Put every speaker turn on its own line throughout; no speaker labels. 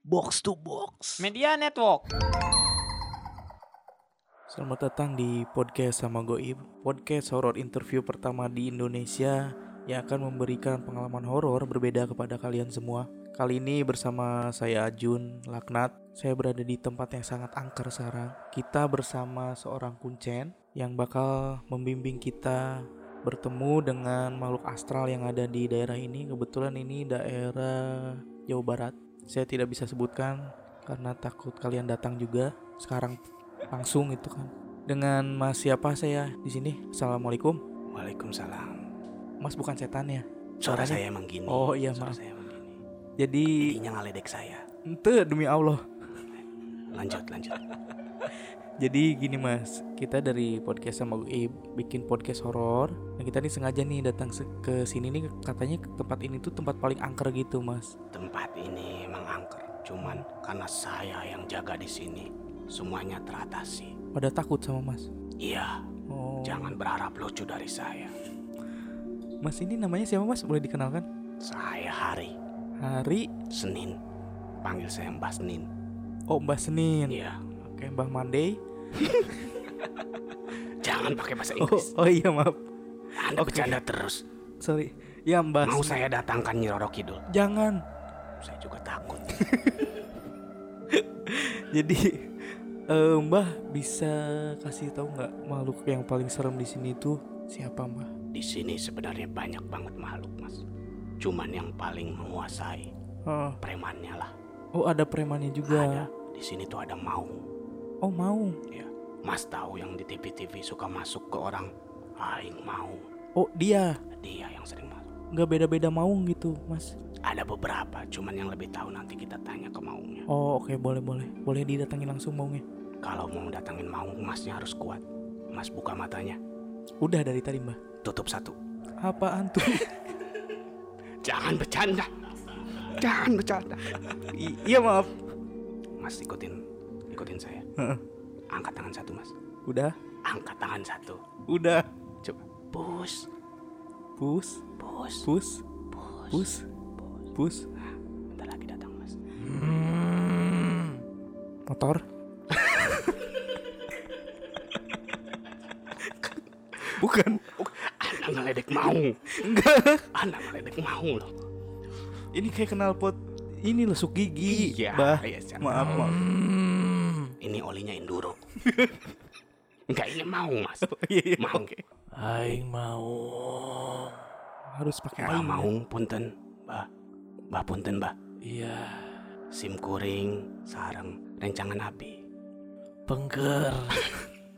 box to box.
Media Network.
Selamat datang di podcast sama Goib, podcast horor interview pertama di Indonesia yang akan memberikan pengalaman horor berbeda kepada kalian semua. Kali ini bersama saya Ajun Laknat, saya berada di tempat yang sangat angker sekarang. Kita bersama seorang kuncen yang bakal membimbing kita bertemu dengan makhluk astral yang ada di daerah ini. Kebetulan ini daerah Jawa Barat. Saya tidak bisa sebutkan karena takut kalian datang juga sekarang langsung gitu kan. Dengan Mas siapa saya di sini? Assalamualaikum.
Waalaikumsalam.
Mas bukan setan ya.
Suara
Suaranya-
saya emang gini.
Oh, iya,
Suara
maaf.
saya emang gini.
Jadi
Jadinya ngaledek saya.
ente demi Allah.
Lanjut, lanjut.
Jadi gini Mas, kita dari podcast sama gue bikin podcast horor. Nah, kita nih sengaja nih datang se- ke sini nih katanya tempat ini tuh tempat paling angker gitu Mas.
Tempat ini emang angker. Cuman karena saya yang jaga di sini, semuanya teratasi.
Pada takut sama Mas.
Iya,
Oh.
jangan berharap lucu dari saya.
Mas ini namanya siapa Mas? Boleh dikenalkan?
Saya Hari
Hari
Senin. Panggil saya Mbak Senin.
Oh Mbah Senin.
Iya,
Oke Mbah Mandei.
jangan pakai bahasa
Oh,
Inggris.
oh iya maaf.
Anda
oke.
bercanda terus.
Sorry. Ya Mbah.
Mau
Senin.
saya datangkan Nyi Roro Kidul.
Jangan.
Saya juga takut.
Jadi eh, Mbah bisa kasih tahu nggak makhluk yang paling serem di sini tuh siapa Mbah?
Di sini sebenarnya banyak banget makhluk, Mas. Cuman yang paling menguasai
Oh,
premannya lah.
oh, ada premannya
Ada.
juga.
Di sini tuh ada Maung.
Oh mau.
Mas tahu yang di TV-TV suka masuk ke orang aing Maung.
Oh dia
Dia yang sering masuk.
nggak beda-beda maung gitu Mas.
Ada beberapa, cuman yang lebih tahu nanti kita tanya ke Maungnya.
Oh oke boleh boleh boleh didatangin langsung maungnya.
Kalau mau datangin Maung, Masnya harus kuat. Mas buka matanya,
Udah dari tadi Mbah.
tutup satu.
Apaan tuh?
Jangan bercanda. Jangan bercanda.
I- iya maaf.
Mas ikutin, ikutin saya.
Heeh.
Angkat tangan satu, Mas.
Udah
Angkat tangan satu.
udah.
Coba. Push,
Pus
push,
pus
push.
pus pus.
Nah, bentar lagi datang, Mas.
Motor? Bukan.
Anak ngeledek mau.
Enggak.
Anak ngeledek mau loh.
Ini kayak knalpot ini lesuk gigi.
Iya,
Bah.
iya, siap.
maaf, maaf. Hmm.
Ini olinya Enduro. Enggak, ini mau, Mas.
Iya, iya.
Mau.
Aing mau.
Harus pakai
Mbak
air.
Oh. mau, punten. Mbak. Mbak punten, Mbak.
Iya,
Sim kuring, sarang, rencangan api.
pengker.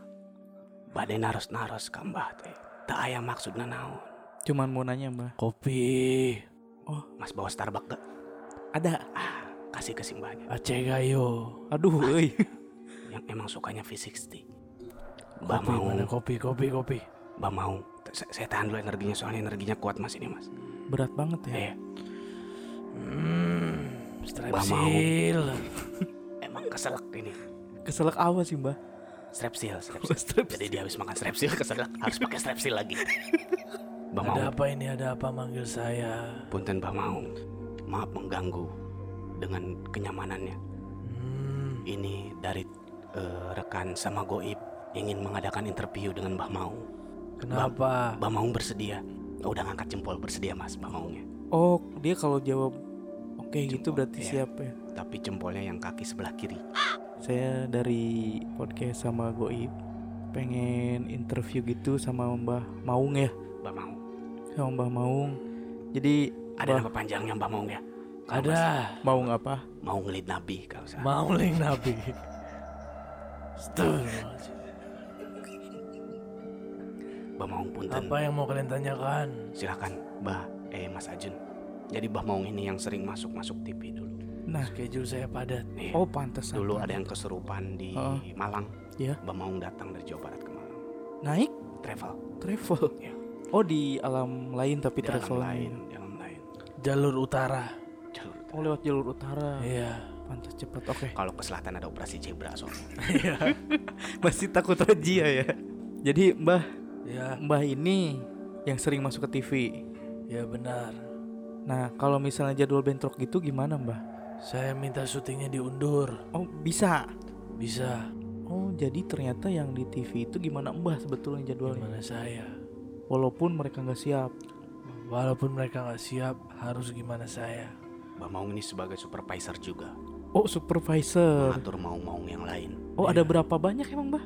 Badai naros-naros ka Mbah teh. Tak aya maksudna naon.
Cuman mau nanya, Mbah.
Kopi.
Mas bawa Starbucks gak?
Ada.
Ah, kasih ke si Mbahnya.
Aceh Gayo.
Aduh, euy.
Yang emang sukanya V60. Mbak
Kopi
mau,
mana kopi, kopi, kopi.
Mbak mau. Saya, saya tahan dulu energinya soalnya energinya kuat Mas ini, Mas.
Berat banget ya.
Iya.
Hmm,
mau.
strepsil.
Emang keselak ini.
Keselak awal sih, Mbah.
Strepsil, strepsil.
Oh, strepsil.
Jadi dia habis makan strepsil keselak harus pakai strepsil lagi. Bang
Ada
Maung,
apa ini? Ada apa manggil saya?
punten Bang Maung. Maaf mengganggu dengan kenyamanannya.
Hmm,
Ini dari eh, rekan sama Goib ingin mengadakan interview dengan Mbah Maung.
kenapa?
Mbah Maung bersedia. Oh, udah ngangkat jempol bersedia Mas Mbah Maungnya.
Oh, dia kalau jawab oke gitu
Jempol,
berarti
iya.
siap ya.
Tapi jempolnya yang kaki sebelah kiri.
Saya dari podcast sama Goib pengen interview gitu sama Mbah Maung ya,
Mbah Maung.
sama Mbah Maung. Jadi
Ada
Mbah-
nama panjangnya Mbah Maung ya? Kalau Mas
Ada.
Maung apa?
Mau ngelit Nabi kalau saya.
Mau link nabi. Stur.
Mbah Maung punten.
Apa yang mau kalian tanyakan?
Silakan, Mbah eh Mas Ajun. Jadi Mbah Maung ini yang sering masuk-masuk TV dulu.
Nah,
Schedule saya padat.
Iya.
oh pantas
dulu ada yang kesurupan di
Heeh.
Malang.
Iya.
Mbah Maung datang dari Jawa Barat ke Malang.
naik
Travel
travel.
Iya.
Oh di alam lain tapi
di alam
travel
lain, di alam lain.
Jalur utara.
Jalur utara.
Oh lewat jalur utara.
Iya.
Pantas cepat. Oke.
Kalau ke selatan ada operasi zebra soalnya.
Masih takut razia ya. Jadi Mbah
Iya.
Mbah ini yang sering masuk ke TV.
Ya benar.
Nah, kalau misalnya jadwal bentrok gitu gimana, Mbah?
Saya minta syutingnya diundur.
Oh bisa.
Bisa.
Oh jadi ternyata yang di TV itu gimana Mbah sebetulnya jadwalnya?
Gimana saya?
Walaupun mereka nggak siap.
Walaupun mereka nggak siap, harus gimana saya?
Mbak Maung ini sebagai supervisor juga,
Oh supervisor.
mengatur Maung-Maung yang lain.
Oh ada berapa banyak emang Mbah?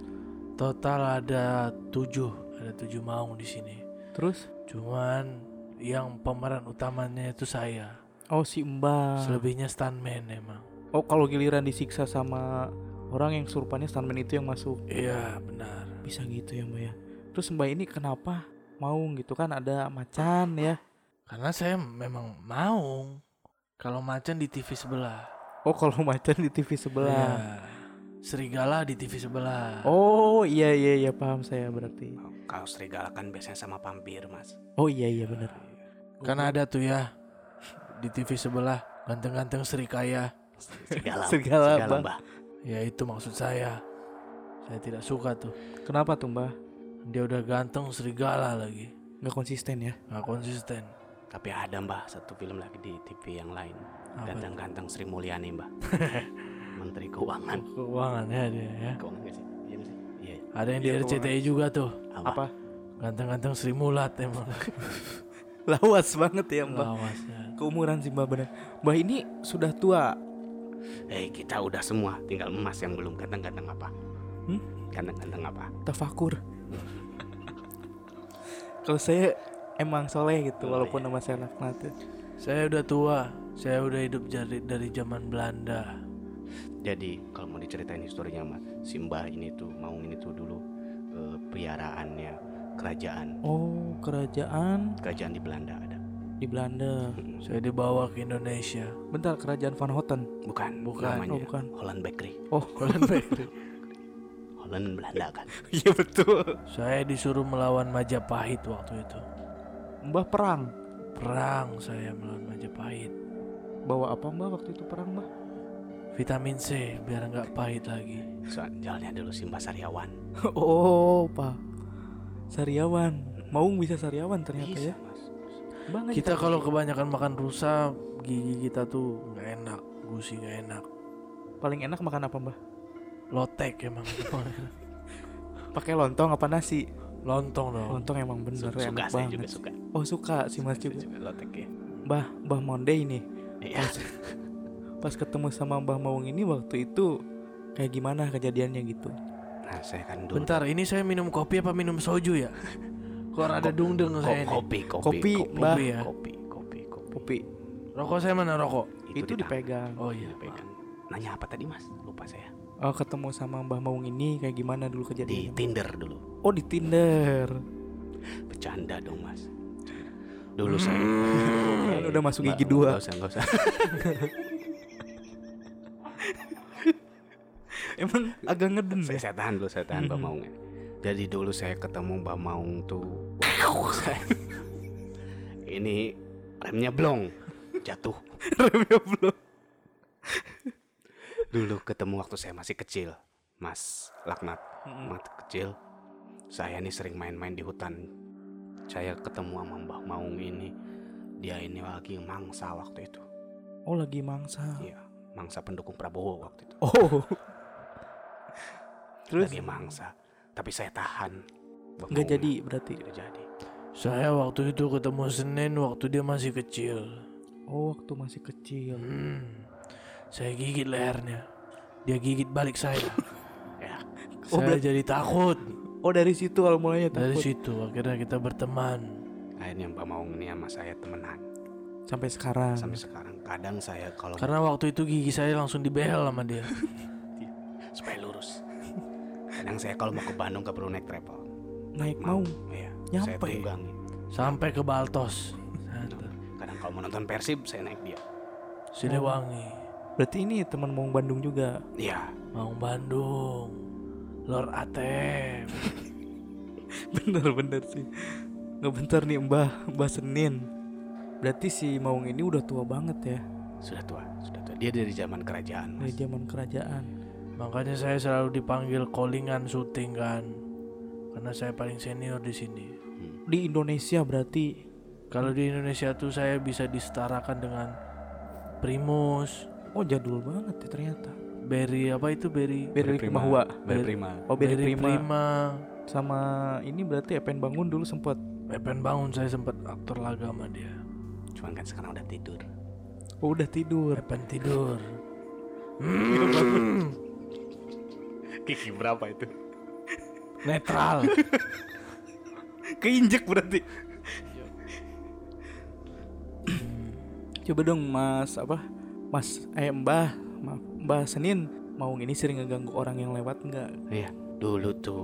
Total ada tujuh, ada tujuh maung di sini.
Terus?
Cuman yang pemeran utamanya itu saya.
Oh si Mbah.
Selebihnya stuntman emang.
Oh kalau giliran disiksa sama orang yang surupannya stuntman itu yang masuk
Iya benar.
bisa gitu ya mbak ya. Terus mbak ini kenapa mau gitu kan ada macan ya?
Karena saya memang maung. Kalau macan di TV sebelah.
Oh kalau macan di TV
Iya.
sebelah.
Serigala di TV sebelah.
Oh iya iya iya paham saya berarti.
Kalau serigala kan biasanya sama vampir, Mas.
Oh iya iya benar.
Karena ada tuh ya di TV sebelah ganteng-ganteng serikaya.
Serigala.
Serigala, Mbak.
Mbak.
Ya itu maksud saya. Saya tidak suka tuh.
Kenapa tuh mbak?
Dia udah ganteng serigala lagi.
Nggak konsisten ya?
Nggak konsisten.
Tapi ada Mbak satu film lagi di TV yang lain.
Apa
Ganteng-ganteng Sri Mulyani, Mbak. Menteri Keuangan.
Keuangan ya dia ya.
Keuangan nggak sih? Iya nggak sih? Iya. ya.
Ada yang di
Iya,
RCTI juga tuh.
Apa?
Apa?
Ganteng-ganteng Sri Mulat emang.
Lawas banget ya mbak.
Lawasnya.
Keumuran sih mbak benar. Mbak ini sudah tua.
Eh, kita udah semua, tinggal emas yang belum ganteng-ganteng apa?
Hmm?
Ganteng-ganteng apa?
tafakur kalau saya emang soleh gitu walaupun nama saya laknat ya.
Saya udah tua. Saya udah hidup dari dari zaman Belanda.
Jadi kalau mau diceritain historinya Mbak, si Mbah ini tuh Maung ini tuh dulu eh, peliharaannya kerajaan,
oh kerajaan
kerajaan di Belanda ada.
di Belanda
Saya dibawa ke Indonesia.
bentar kerajaan Van Houten
Bukan,
Bukan,
namanya
oh, bukan.
Holland Bakery.
oh
Holland Belanda kan.
iya betul
Saya disuruh melawan Majapahit waktu itu.
mbah perang
Perang saya melawan Majapahit.
bawa apa mbah waktu itu perang mbah
Vitamin C biar nggak pahit lagi.
Soalnya dulu si Mbah Sariawan.
oh pak sariawan Maung bisa sariawan ternyata ya
Mas.
Mbah nggak
Kita
dikasih.
kalau kebanyakan makan rusa, gigi kita tuh nggak enak, gusi nggak enak.
paling enak makan apa mbah
Lotek emang.
pakai lontong apa nasi
Lontong dong.
lontong emang bener
Su- suka
enak
saya
banget
juga suka.
oh suka sih mas juga Iya.
Suka lotek ya.
mbah mbah monde ini
Iya.
pas ketemu sama Mbah Maung ini waktu itu kayak gimana kejadiannya gitu.
Nah, saya kan dulu
Bentar, ini saya minum kopi apa minum soju ya? Kok rada dungdeng
Ko-
saya ini.
kopi, kopi,
Kopi, ya.
kopi,
Mbah.
kopi, kopi, kopi, kopi.
Popi
Rokok saya mana rokok?
itu, dipegang.
Oh iya.
dipegang. Nanya apa tadi Mas? Lupa saya.
Oh, ketemu sama Mbah Maung ini kayak gimana dulu
Di
kejadiannya?
Tinder dulu.
oh di Tinder.
Bercanda dong mas Dulu saya
Kan Hmm. udah masuk
Nggak-
gigi dua.
nggak usah, nggak usah
Emang agak ngeden
saya,
ya.
saya tahan dulu, saya tahan Mbak Maung ya. Jadi dulu saya ketemu Mbak Maung tuh saya- Ini remnya blong Jatuh
Remnya belum.
Dulu ketemu waktu saya masih kecil Mas Laknat
Mm-mm.
Mas kecil Saya ini sering main-main di hutan Saya ketemu sama Mbak Maung ini Dia ini lagi mangsa waktu itu
Oh lagi mangsa.
Iya Mangsa pendukung Prabowo waktu itu
Oh. Terus
lagi mangsa tapi saya tahan Bengong.
nggak jadi berarti.
tidak jadi
Saya waktu itu ketemu Senin waktu dia masih kecil.
Oh waktu masih kecil.
Hmm. Saya gigit lehernya. Dia gigit balik saya.
ya
Oh,
saya
berarti-
jadi takut.
Oh dari situ kalau mulanya
Dari
takut.
situ akhirnya kita berteman.
akhirnya Mbak Maung ini sama saya temenan
Sampai sekarang.
sampai sekarang kadang saya kalau
Karena waktu itu gigi saya langsung dibehel sama dia.
supaya lurus kadang saya kalau mau ke Bandung ke perlu naik travel
Naik Maung.
ya
Nyampe.
saya tunggangi
Sampai ke Baltos.
kadang kalau mau nonton Persib saya naik dia
Siliwangi.
Berarti ini teman Maung Bandung juga.
iya
Mau Bandung. Lord ATM.
Bener-bener sih Nggak bentar nih mbah Mbah Senin Berarti si Maung ini udah tua banget ya
sudah tua sudah tua dia dari zaman kerajaan mas
Dari zaman kerajaan
Makanya saya selalu dipanggil callingan syuting kan. Karena saya paling senior di sini.
Di Indonesia berarti
Kalau di Indonesia tuh saya bisa disetarakan dengan Primus,
Oh jadul banget ya ternyata.
Berry apa itu Berry?
Berry
Prima.
Mahua.
Beri prima.
Oh Berry Prima.
Prima.
Sama ini berarti Epen Bangun dulu sempet.
Epen bangun saya sempat aktor laga sama dia.
Cuman kan sekarang udah tidur.
Oh udah tidur.
Epen tidur.
Gigi berapa itu?
Netral.
Keinjek berarti.
Coba dong Mas apa? Mas eh Mbah, maaf, Mbah Senin mau ini sering ngeganggu orang yang lewat nggak?
Iya. Dulu tuh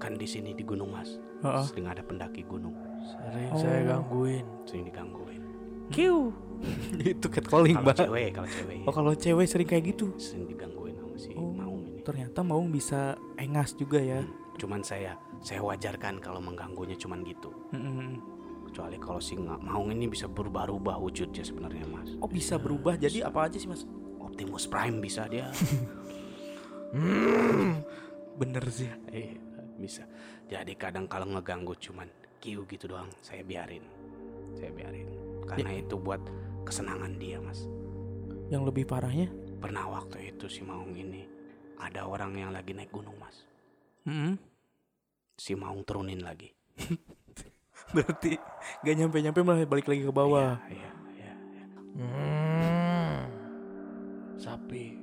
kan di sini di Gunung Mas.
Heeh.
Sering ada pendaki gunung,
Sering
Oh.
saya gangguin.
sering digangguin.
Kiu. Itu catcalling,
Kalau
Mbah.
cewek, kalau cewek
Oh kalau cewek sering kayak gitu.
sering digangguin sama si
Oh.
Maung Eh, ini.
Ternyata mau bisa engas juga ya.
Cuman saya saya wajarkan kalau mengganggunya cuman gitu.
Mm-mm.
Kecuali kalau si nggak Maung ini bisa berubah-ubah wujudnya sebenarnya Mas.
Oh bisa
Iya.
berubah jadi apa aja sih Mas?
Optimus Prime bisa dia. Hmm.
Bener sih.
eh, bisa. Jadi kadang kalau ngeganggu cuman kiu gitu doang, saya biarin. Saya biarin. Karena itu buat kesenangan dia, Mas.
Yang lebih parahnya?
Pernah waktu itu si Maung ini ada orang yang lagi naik gunung, Mas. Hmm.
Mm-mm.
Si Maung turunin lagi.
Berarti gak nyampe-nyampe malah balik lagi ke bawah.
Iya, iya.
Hmm. Sapi.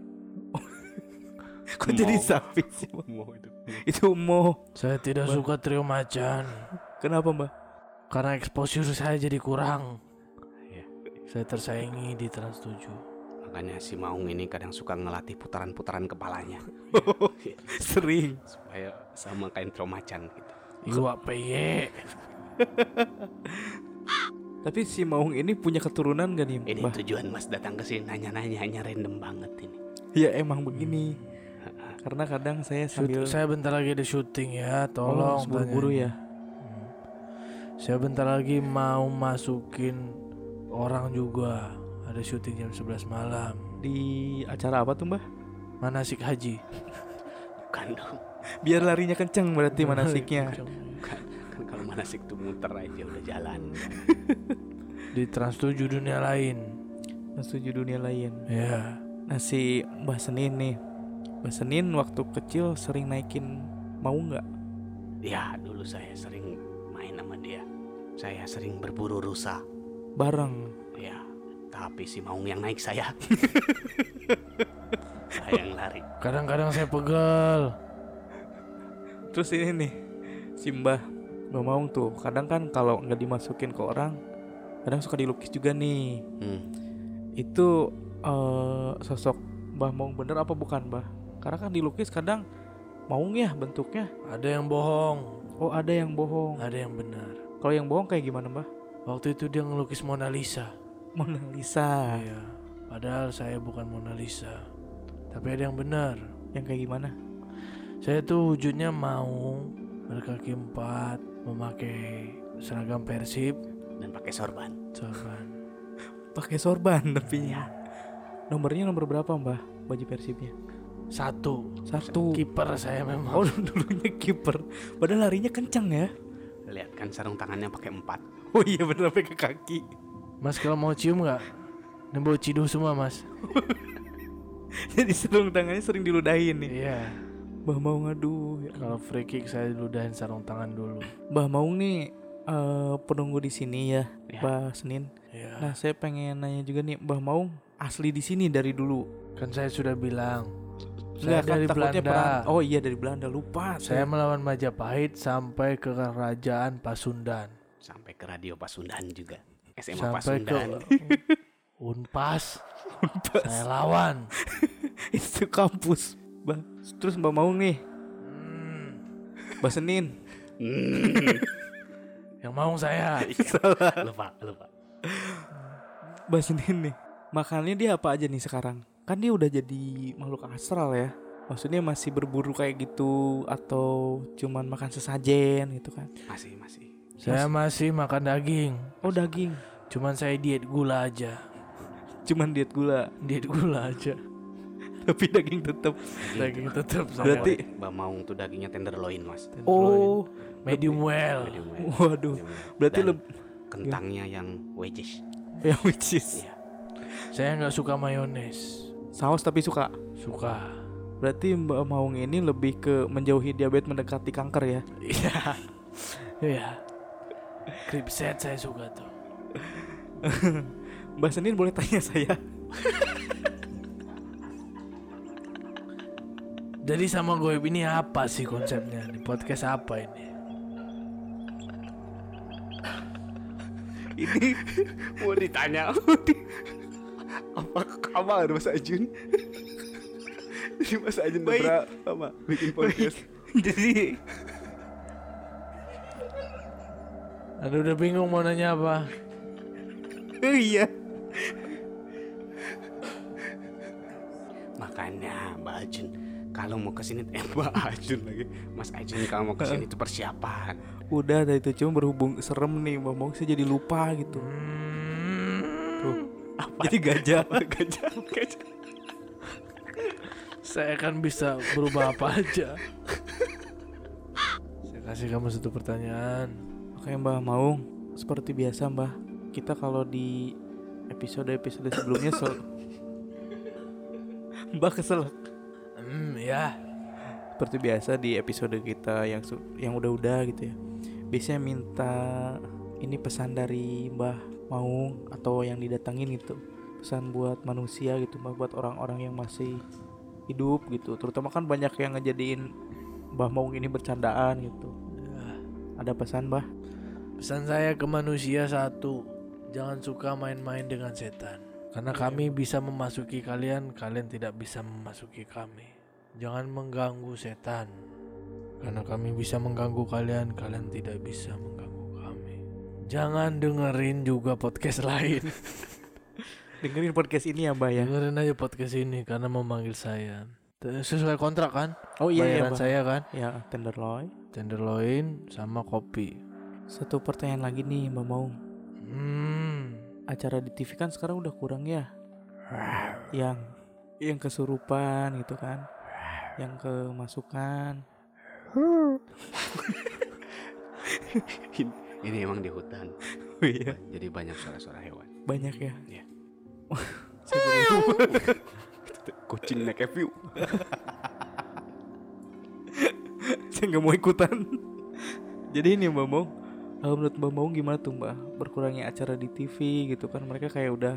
Kok jadi
Iya. Mau.
sapi sih? Bang?
Mau itu.
Itu mau.
Saya tidak
Ba-
suka trio macan
Kenapa mbak?
karena exposure saya jadi kurang.
Iya.
Saya tersaingi di Trans 7.
Makanya si Maung ini kadang suka ngelatih putaran-putaran kepalanya Iya.
Sering.
supaya sama kain tromacan gitu.
Iwa PY.
Tapi si Maung ini punya keturunan gak nih
Ini
mbak?
tujuan Mas datang ke sini nanya-nanya hanya random banget ini.
Ya emang begini. Karena kadang saya
Shoot-
sambil
Saya bentar lagi ada syuting ya, tolong.
buru-buru
tanyain.
ya.
Saya bentar lagi mau masukin orang juga. Ada syuting jam 11 malam.
Di acara apa tuh mbak?
Manasik haji.
Bukan dong.
Biar larinya kenceng berarti
Iya,
manasiknya.
Bukan. Kan kalau manasik tuh muter aja udah jalan.
Di Trans 7 dunia lain.
Menuju dunia lain.
Ya.
Nah si Mbah Senin nih. Mbah Senin waktu kecil sering naikin mau nggak?
Ya dulu saya sering main sama dia. Saya sering berburu rusa.
Bareng.
Ya, tapi si Maung yang naik saya. saya yang lari.
Kadang-kadang saya pegel.
Terus ini nih si Mbah Mbah Maung tuh kadang kan kalau nggak dimasukin ke orang kadang suka dilukis juga nih
Hmm.
itu eh, sosok Mbah Maung bener apa bukan Mbah karena kan dilukis kadang Maung ya bentuknya
Ada yang bohong,
oh ada yang bohong
ada yang benar.
kalau yang bohong kayak gimana Mbah
Waktu itu dia ngelukis Mona Lisa.
Mona Lisa
Iya. Padahal saya bukan Mona Lisa. Tapi ada yang benar.
yang kayak gimana
Saya tuh wujudnya mau berkaki empat, memakai seragam Persib,
Dan pakai sorban.
sorban.
pakai sorban tapi nomornya nomor berapa Mbah baju persibnya
Satu.
satu
Kiper saya memang.
oh dulunya kiper padahal larinya kencang ya
Lihat kan sarung tangannya pakai empat.
oh iya bener sampai ke kaki
Mas kalau mau cium nggak? Ini bau ciduh semua mas.
Jadi sarung tangannya sering diludahin nih.
Iya.
Mbah Maung aduh. ya Allah.
Kalau free kick saya ludahin sarung tangan dulu.
Mbah Maung nih eh, penunggu di sini ya,
Ya.
Mbah Senin.
Iya.
Nah, saya pengen nanya juga nih, Mbah Maung asli di sini dari dulu.
Kan saya sudah bilang. Saya
Enggak kan
dari
takutnya
Belanda.
perang. Oh iya dari Belanda lupa.
Saya melawan Majapahit sampai ke kerajaan Pasundan.
Sampai ke radio Pasundan juga. SMA
sampai
Pasundan.
ke Unpas. Saya lawan.
itu kampus. Mbah. Terus Mbah Maung nih,
Hmm,
Mbah Senin.
Hmm,
yang mau saya.
lupa, lupa.
Mbah Senin nih. Makannya dia apa aja nih sekarang? Kan dia udah jadi makhluk astral ya. Maksudnya masih berburu kayak gitu atau cuman makan sesajen gitu kan?
Masih, masih.
Saya masih makan daging.
Oh daging.
Cuman saya diet gula aja.
cuman diet gula
Diet gula aja.
tapi daging tetap
Daging tetap saya.
Berarti-
Mbak Maung tuh dagingnya tenderloin, Mas.
oh
medium well.
Medium well.
waduh
Medium well.
berarti
Dan
lebih
kentangnya yang wedges.
ya which is
Iya.
Saya nggak suka mayones.
Saus tapi suka.
Suka.
Berarti Mbak Maung ini lebih ke menjauhi diabetes mendekati kanker ya.
Iya. Iya. Kripset saya suka tuh.
Mbak Senin boleh tanya saya.
Jadi sama goib ini apa sih konsepnya? Di podcast apa ini?
ini mau ditanya apa kabar Mas Ajun ini Mas Ajun udah
Baik.
berapa lama bikin podcast
Jadi
Aduh udah bingung mau nanya apa.
iya.
makanya Mbak Ajun kalau mau kesini eh Mbak Ajun lagi Mas Ajun kalau mau kesini itu persiapan
Udah tadi itu cuma berhubung serem nih Mbak Maung saya jadi lupa gitu.
Hmm.
Tuh. Jadi gajah.
gajah gajah
Saya kan bisa berubah apa aja. Saya kasih kamu satu pertanyaan.
Oke Mbak Maung, seperti biasa Mbak, kita kalau di episode-episode sebelumnya sel- Mbak kesel.
Hmm, ya.
Seperti biasa di episode kita yang su- yang udah-udah gitu ya. Biasanya minta ini pesan dari Mbak Maung atau yang didatangin gitu. Pesan buat manusia gitu, Mbak, buat orang-orang yang masih hidup gitu. Terutama kan banyak yang ngejadiin Mbak Maung ini bercandaan gitu. Ada pesan, Mbak?
Pesan saya ke manusia satu, jangan suka main-main dengan setan. Karena
Iya.
kami bisa memasuki kalian, kalian tidak bisa memasuki kami. Jangan mengganggu setan. Karena kami bisa mengganggu kalian, kalian tidak bisa mengganggu kami. Jangan dengerin juga podcast lain.
Dengerin podcast ini ya, Mbak ya.
dengerin aja podcast ini karena memanggil saya. Te- Sesuai kontrak kan?
Oh iya, iya
Bayaran
Mbak.
saya kan?
Ya, tenderloin.
Tenderloin sama kopi.
Satu pertanyaan lagi nih, Mbak Maung.
Hmm.
Acara di TV kan sekarang udah kurang ya. Yang yang kesurupan gitu kan. Yang kemasukan.
ini emang di hutan
Iya,
jadi banyak suara-suara hewan
banyak ya.
Iya.
Saya jadi lupa.
kucing naik view
Saya nggak mau ikutan. Jadi ini Mbak Maung, eh, menurut Mbak Maung gimana tuh Mbak? Berkurangnya acara di TV gitu kan mereka kayak udah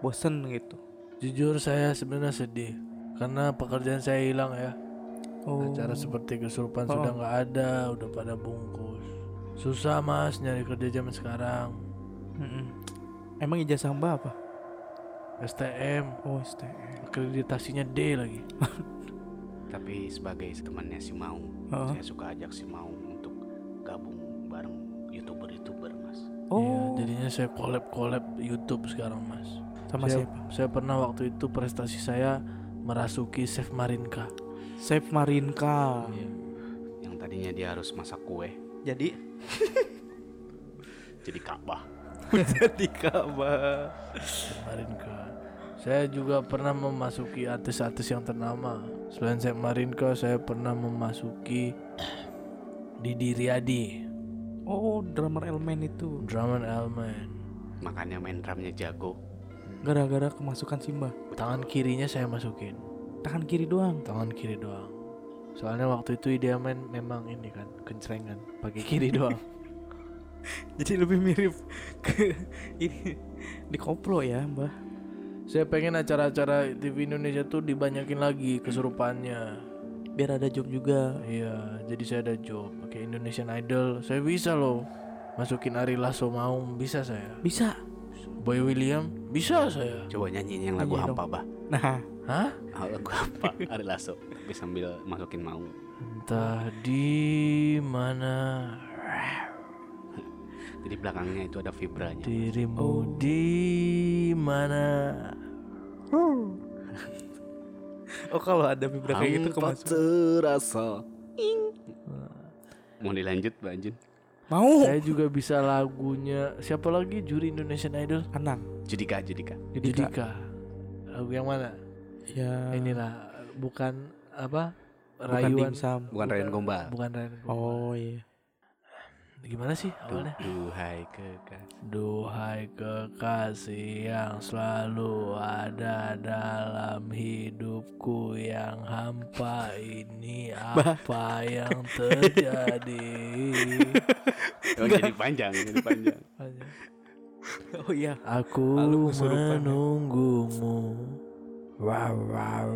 bosen gitu.
Jujur saya sebenarnya sedih karena pekerjaan saya hilang ya.
Oh,
Acara seperti kesurupan
Oh.
sudah nggak ada, udah pada bungkus. Susah mas nyari kerja zaman sekarang.
Mm-mm. Emang ijazah Mbak apa?
STM
Oh, STM.
akreditasinya D lagi.
tapi sebagai temannya si Maung
Heeh.
Iya,
saya suka ajak si Maung untuk gabung bareng youtuber-youtuber Mas
Oh,
Iya, jadinya saya collab collab YouTube sekarang mas.
sama
saya,
siapa?
saya pernah waktu itu prestasi saya merasuki Chef Marinka.
Chef Marinka.
Iya.
yang tadinya dia harus masak kue
Jadi
jadi Ka'bah
jadi kabar.
Chef Marinka. Saya juga pernah memasuki artis-artis yang ternama. Selain Chef Marinka, saya pernah memasuki Didi Riyadi,
Oh, drummer elemen itu
Drummond Elman.
makanya main drumnya jago
gara-gara kemasukan Simba.
Tangan kirinya saya masukin,
Tangan kiri doang.
tangan kiri doang. Soalnya waktu itu dia main memang ini kan kencengan pakai kiri doang.
Jadi lebih mirip ke ini di koplo ya, Mbah.
saya pengen acara-acara TV Indonesia tuh dibanyakin lagi kesurupannya.
Biar ada job juga.
Iya, jadi saya ada job pakai Indonesian Idol. Saya bisa loh masukin Ari Lasso mau bisa saya.
Bisa.
Boy William bisa saya.
coba nyanyiin yang lagu
Nyanyi
hampa bah
Nah,
Hah?
Ah, lagu hampa Ari Lasso tapi sambil masukin Maung
Entah di mana
jadi belakangnya itu ada vibranya
dirimu di mana.
oh kalau ada vibra kayak gitu
Hampa
kemasukan.
terasa mau dilanjut Mbak Ajun
Mau.
Saya juga bisa lagunya siapa lagi juri Indonesian Idol?
Anang.
Judika Judika
Judika.
Lagu yang mana?
Ya.
Inilah bukan apa?
bukan
Rayuan
dimsum.
bukan Ryan Gombal
bukan Rayuan.
Oh iya.
Gimana sih awalnya?
Duhai kekasih.
Duhai kekasih yang selalu ada dalam hidupku yang hampa ini apa yang terjadi?
Oh, jadi panjang, jadi panjang.
oh iya
Aku
Lalu kesurupan ya.
menunggumu. Wow wow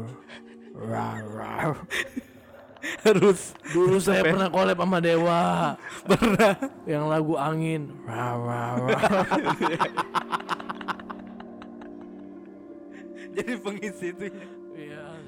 wow wow.
harus
Dulu saya pernah collab sama Dewa. Pernah. Yang lagu angin. Wow wow wow.
jadi pengisi itu
Iya.